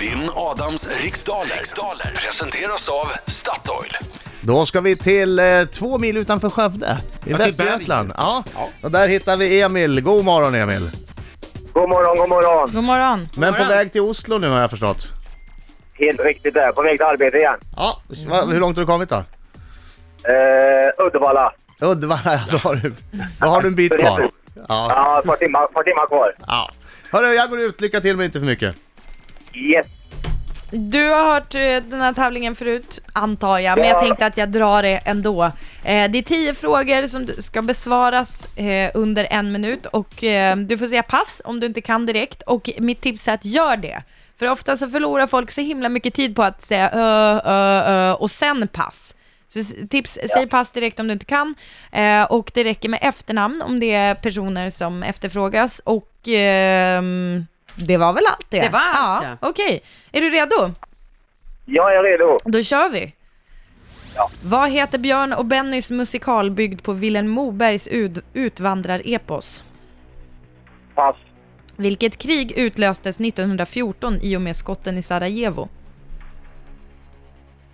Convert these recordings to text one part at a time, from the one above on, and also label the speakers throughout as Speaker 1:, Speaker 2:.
Speaker 1: Vinn Adams riksdaler. riksdaler presenteras av Statoil.
Speaker 2: Då ska vi till eh, två mil utanför Skövde i
Speaker 3: Ja, till
Speaker 2: Västergötland. Ja. Och där hittar vi Emil. God morgon Emil.
Speaker 4: God morgon, god morgon.
Speaker 5: God morgon.
Speaker 2: Men på väg till Oslo nu har jag förstått.
Speaker 4: Helt riktigt där, på väg till arbetet igen.
Speaker 2: Ja. Va, hur långt har du kommit då?
Speaker 4: Eh, Uddevalla.
Speaker 2: Uddevalla, då har du, då har du en bit kvar. Ja.
Speaker 4: Ja, ett par timmar, par timmar kvar.
Speaker 2: ja. Hörru, jag går ut. Lycka till men inte för mycket.
Speaker 4: Yes.
Speaker 5: Du har hört eh, den här tävlingen förut, antar jag, men jag tänkte att jag drar det ändå. Eh, det är tio frågor som du- ska besvaras eh, under en minut och eh, du får säga pass om du inte kan direkt och mitt tips är att gör det. För ofta så förlorar folk så himla mycket tid på att säga ö, ö, ö och sen pass. Så s- tips, säg pass direkt om du inte kan. Eh, och det räcker med efternamn om det är personer som efterfrågas. Och ehm, det var väl allt det?
Speaker 6: Det var allt,
Speaker 5: ja. Okej, är du redo?
Speaker 4: Jag är redo.
Speaker 5: Då kör vi. Vad heter Björn och Bennys musikal byggd på Vilhelm Mobergs ut- utvandrar-epos?
Speaker 4: Pass.
Speaker 5: Vilket krig utlöstes 1914 i och med skotten i Sarajevo?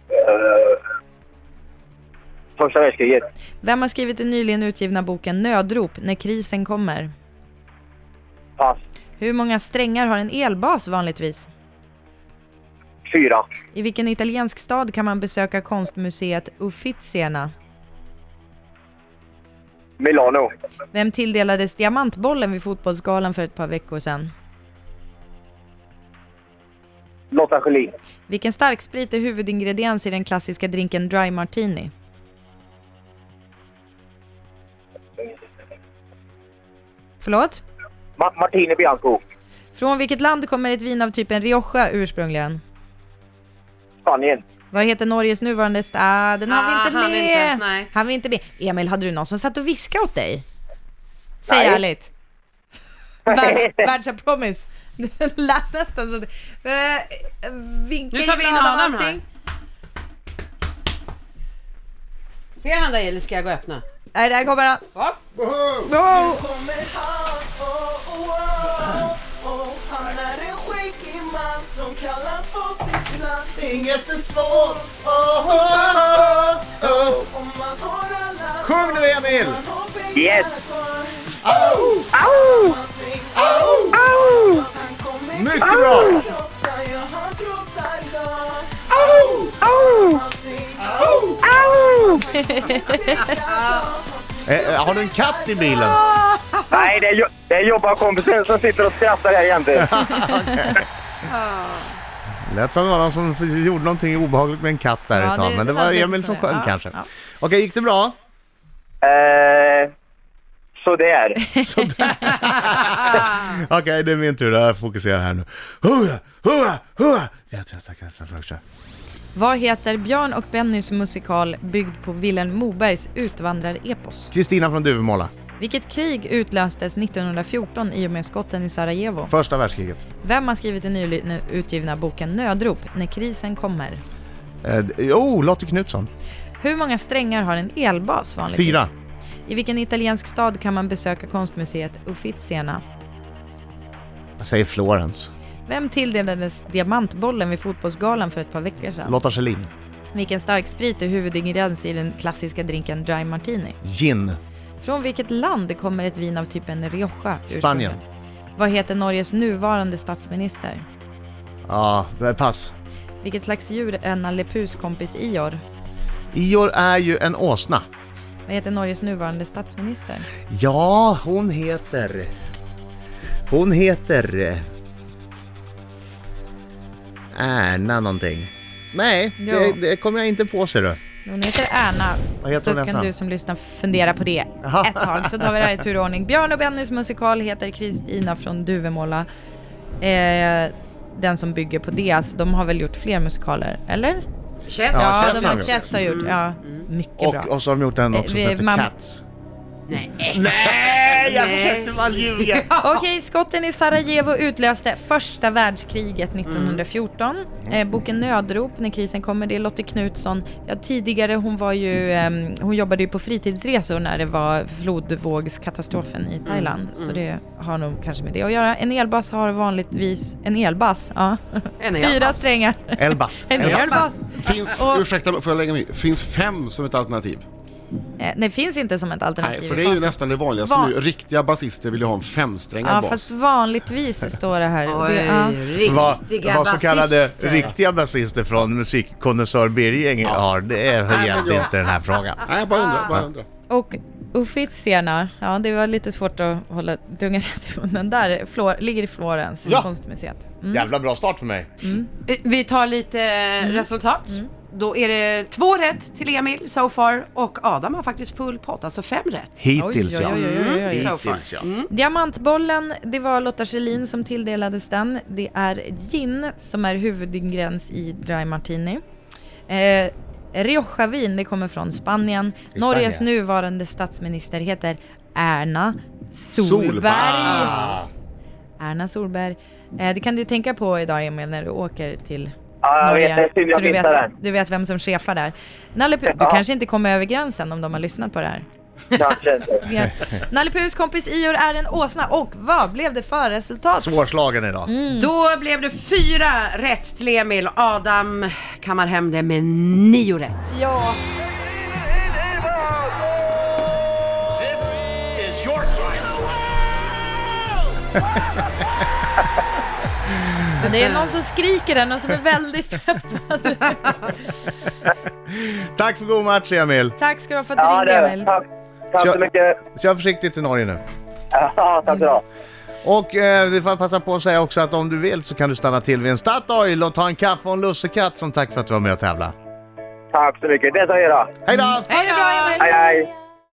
Speaker 4: Eh, första världskriget.
Speaker 5: Vem har skrivit den nyligen utgivna boken Nödrop när krisen kommer?
Speaker 4: Pass.
Speaker 5: Hur många strängar har en elbas vanligtvis?
Speaker 4: Fyra.
Speaker 5: I vilken italiensk stad kan man besöka konstmuseet Uffizierna?
Speaker 4: Milano.
Speaker 5: Vem tilldelades Diamantbollen vid Fotbollsgalan för ett par veckor sedan?
Speaker 4: Lotta Schelin.
Speaker 5: Vilken starksprit är huvudingrediens i den klassiska drinken Dry Martini? Förlåt?
Speaker 4: Ma- Martine Bianco.
Speaker 5: Från vilket land kommer ett vin av typen Rioja ursprungligen?
Speaker 4: Spanien.
Speaker 5: Vad heter Norges nuvarande st- Ah, den har vi
Speaker 6: Ah,
Speaker 5: inte
Speaker 6: han
Speaker 5: med!
Speaker 6: är inte- nej.
Speaker 5: Han var inte med. Emil, hade du någon som satt och viskade åt dig? Säg
Speaker 4: Nej.
Speaker 5: ärligt. Världs- Världs I promise. Det lät nästan så. Eh, vinka
Speaker 6: Nu tar vi in Adam här.
Speaker 5: Alsing.
Speaker 6: Ser han dig eller ska jag gå och öppna?
Speaker 5: Nej, där kommer han.
Speaker 6: Ja.
Speaker 5: Wow.
Speaker 7: kommer han, oh, oh, oh, oh. Han är en skäggig man som kallas på sitt namn
Speaker 2: Inget är svårt. Oh, oh, oh,
Speaker 7: Och man har alla
Speaker 2: Sjung nu, Emil!
Speaker 7: Man har pengar
Speaker 4: Yes.
Speaker 7: kvar.
Speaker 2: oh.
Speaker 7: Man säger Han kommer
Speaker 2: Mycket bra!
Speaker 7: krossa, ja han krossar dem Man säger
Speaker 2: Eh, eh, har du en katt i bilen?
Speaker 4: Nej, det är, jo- det är jobbarkompisen som sitter och skrattar här Eh, jämte.
Speaker 2: Lät som det var någon som f- gjorde någonting obehagligt med en katt där
Speaker 5: Ja,
Speaker 2: ett tag,
Speaker 5: det
Speaker 2: men det
Speaker 5: lät
Speaker 2: var
Speaker 5: lite
Speaker 2: Emil som
Speaker 5: sådär.
Speaker 2: sjöng
Speaker 5: Ja,
Speaker 2: kanske.
Speaker 5: ja.
Speaker 2: Okej, gick det bra?
Speaker 4: Eh, sådär.
Speaker 2: Okej, det är min tur. Jag fokuserar här nu. Hurra, hurra, hurra! Jag tror jag stack nästan först här.
Speaker 5: Vad heter Björn och Bennys musikal byggd på Vilhelm Mobergs utvandrar-epos?
Speaker 2: Kristina från Duvemåla.
Speaker 5: Vilket krig utlöstes 1914 i och med skotten i Sarajevo?
Speaker 2: Första världskriget.
Speaker 5: Vem har skrivit den nyligen utgivna boken Nödrop när krisen kommer?
Speaker 2: Eh, d- oh, Lottie Knutsson.
Speaker 5: Hur många strängar har en elbas vanligtvis?
Speaker 2: Fyra.
Speaker 5: I vilken italiensk stad kan man besöka konstmuseet Uffizierna?
Speaker 2: Jag säger Florens.
Speaker 5: Vem tilldelades Diamantbollen vid Fotbollsgalan för ett par veckor sedan?
Speaker 2: Lotta Schelin.
Speaker 5: Vilken starksprit är huvudingrediens i den klassiska drinken Dry Martini?
Speaker 2: Gin.
Speaker 5: Från vilket land kommer ett vin av typen Rioja? ursprungligen?
Speaker 2: Spanien.
Speaker 5: Vad heter Norges nuvarande statsminister?
Speaker 2: Ja, ah, pass.
Speaker 5: Vilket slags djur är Nalle Puhs kompis Ior?
Speaker 2: Ior är ju en åsna.
Speaker 5: Vad heter Norges nuvarande statsminister?
Speaker 2: Ja, hon heter... Hon heter... eh, Erna någonting. Nej, det,
Speaker 5: Ja.
Speaker 2: det kommer jag inte på ser du.
Speaker 5: Hon heter Erna.
Speaker 2: Vad heter
Speaker 5: så
Speaker 2: hon i
Speaker 5: kan
Speaker 2: efternamn?
Speaker 5: du som lyssnar fundera på det
Speaker 2: Jaha.
Speaker 5: ett tag. Så tar vi det här i tur och ordning. Björn och Bennys musikal heter Kristina från Duvemåla. Eh, den som bygger på det. Alltså, de har väl gjort fler musikaler, eller?
Speaker 6: Chess.
Speaker 2: Ja, Chess
Speaker 5: Ja, de
Speaker 2: har
Speaker 5: har
Speaker 2: de gjort.
Speaker 5: Chess har gjort. Ja, mycket bra.
Speaker 2: Och, och så har de gjort en
Speaker 5: Eh,
Speaker 2: också som
Speaker 5: vi-
Speaker 2: heter
Speaker 5: mamma-
Speaker 2: Cats.
Speaker 6: Nej.
Speaker 2: Nej, jag
Speaker 6: Nej.
Speaker 2: försökte bara ljuga.
Speaker 5: Okej, skotten i Sarajevo utlöste första världskriget
Speaker 3: Mm.
Speaker 5: 1914. Eh, boken Nödrop, När krisen kommer, det är Lotte Knutsson. Ja, tidigare, hon var ju, ehm, hon jobbade ju på fritidsresor när det var flodvågskatastrofen
Speaker 3: Mm.
Speaker 5: i Thailand. Så det har nog kanske med det att göra. En elbass har vanligtvis, en elbass, ja.
Speaker 6: En
Speaker 5: Fyra
Speaker 6: elbass.
Speaker 5: strängar.
Speaker 2: Elbas.
Speaker 5: En elbass.
Speaker 3: Finns,
Speaker 5: Och-
Speaker 3: ursäkta, får jag lägga mig? Finns fem som ett alternativ?
Speaker 5: Eh, nej, finns inte som ett alternativ.
Speaker 3: Nej, för det är ju
Speaker 5: Fast-
Speaker 3: nästan det vanligaste
Speaker 5: Va-
Speaker 3: nu. Riktiga basister vill ju ha en femsträngad
Speaker 5: Ja,
Speaker 3: bas.
Speaker 5: fast vanligtvis står det här. Och
Speaker 6: Oj,
Speaker 5: Det, ja.
Speaker 6: riktiga
Speaker 2: Vad så kallade
Speaker 6: basister.
Speaker 2: riktiga basister från musikkonnässör Birging har, det är-
Speaker 3: men
Speaker 2: gällde
Speaker 3: jag-
Speaker 2: inte den här frågan.
Speaker 3: Nej, jag bara undrar.
Speaker 5: Ah.
Speaker 3: Bara undrar.
Speaker 5: Och Uffizierna, ja det var lite svårt att hålla tungan rätt i munnen där, Flor, ligger i Florens,
Speaker 2: Ja.
Speaker 5: konstmuseet. Mm.
Speaker 2: Jävla bra start för mig.
Speaker 6: Eh, Vi tar lite eh, resultat. Då är det två rätt till Emil so far och Adam har faktiskt full pott, alltså fem rätt.
Speaker 2: Hittills ja. Mm.
Speaker 5: Oj, oj, oj, oj, oj, oj. Mm.
Speaker 6: so far.
Speaker 2: Hittills ja.
Speaker 5: Diamantbollen, det var Lotta Schelin som tilldelades den. Det är gin som är huvudingrediens i dry martini. Eh, Rioja-vin, det kommer från Spanien.
Speaker 2: I
Speaker 5: Norges
Speaker 2: Spanien.
Speaker 5: nuvarande statsminister heter Erna Solberg.
Speaker 3: Solberg.
Speaker 2: Ah,
Speaker 5: Erna Solberg. Eh, det kan du tänka på idag Emil när du åker till
Speaker 4: Ja, jag
Speaker 5: Norge.
Speaker 4: vet. Det är synd
Speaker 5: Så
Speaker 4: jag
Speaker 5: du,
Speaker 4: missar
Speaker 5: vet,
Speaker 4: den.
Speaker 5: du vet vem som chefar där. Nalle Puh, du
Speaker 4: Ja.
Speaker 5: kanske inte kommer över gränsen om de har lyssnat på det här.
Speaker 4: Kanske inte.
Speaker 5: Ja. Nalle Puhs kompis Ior är en åsna och vad blev det för resultat?
Speaker 2: Svårslagen idag.
Speaker 5: Mm.
Speaker 6: Då blev det fyra rätt till Emil. Adam kammar hem det med nio rätt.
Speaker 5: Ja. Men Det är någon som skriker den och som är väldigt peppad.
Speaker 2: Tack för god match Emil.
Speaker 5: Tack ska du ha för att du
Speaker 4: Ja,
Speaker 5: ringde
Speaker 4: det,
Speaker 5: Emil.
Speaker 4: tack, tack så
Speaker 2: Kör.
Speaker 4: mycket.
Speaker 2: Kör försiktigt till Norge nu.
Speaker 4: Ja, tack så bra.
Speaker 2: Och eh, vi får passa på att säga också att om du vill så kan du stanna till vid en Statoil och ta en kaffe och en lussekatt som tack för att du var med och tävla.
Speaker 4: Tack så mycket. Det säger jag.
Speaker 2: Hej då!
Speaker 5: Ha det bra Emil.
Speaker 4: Hej, hej.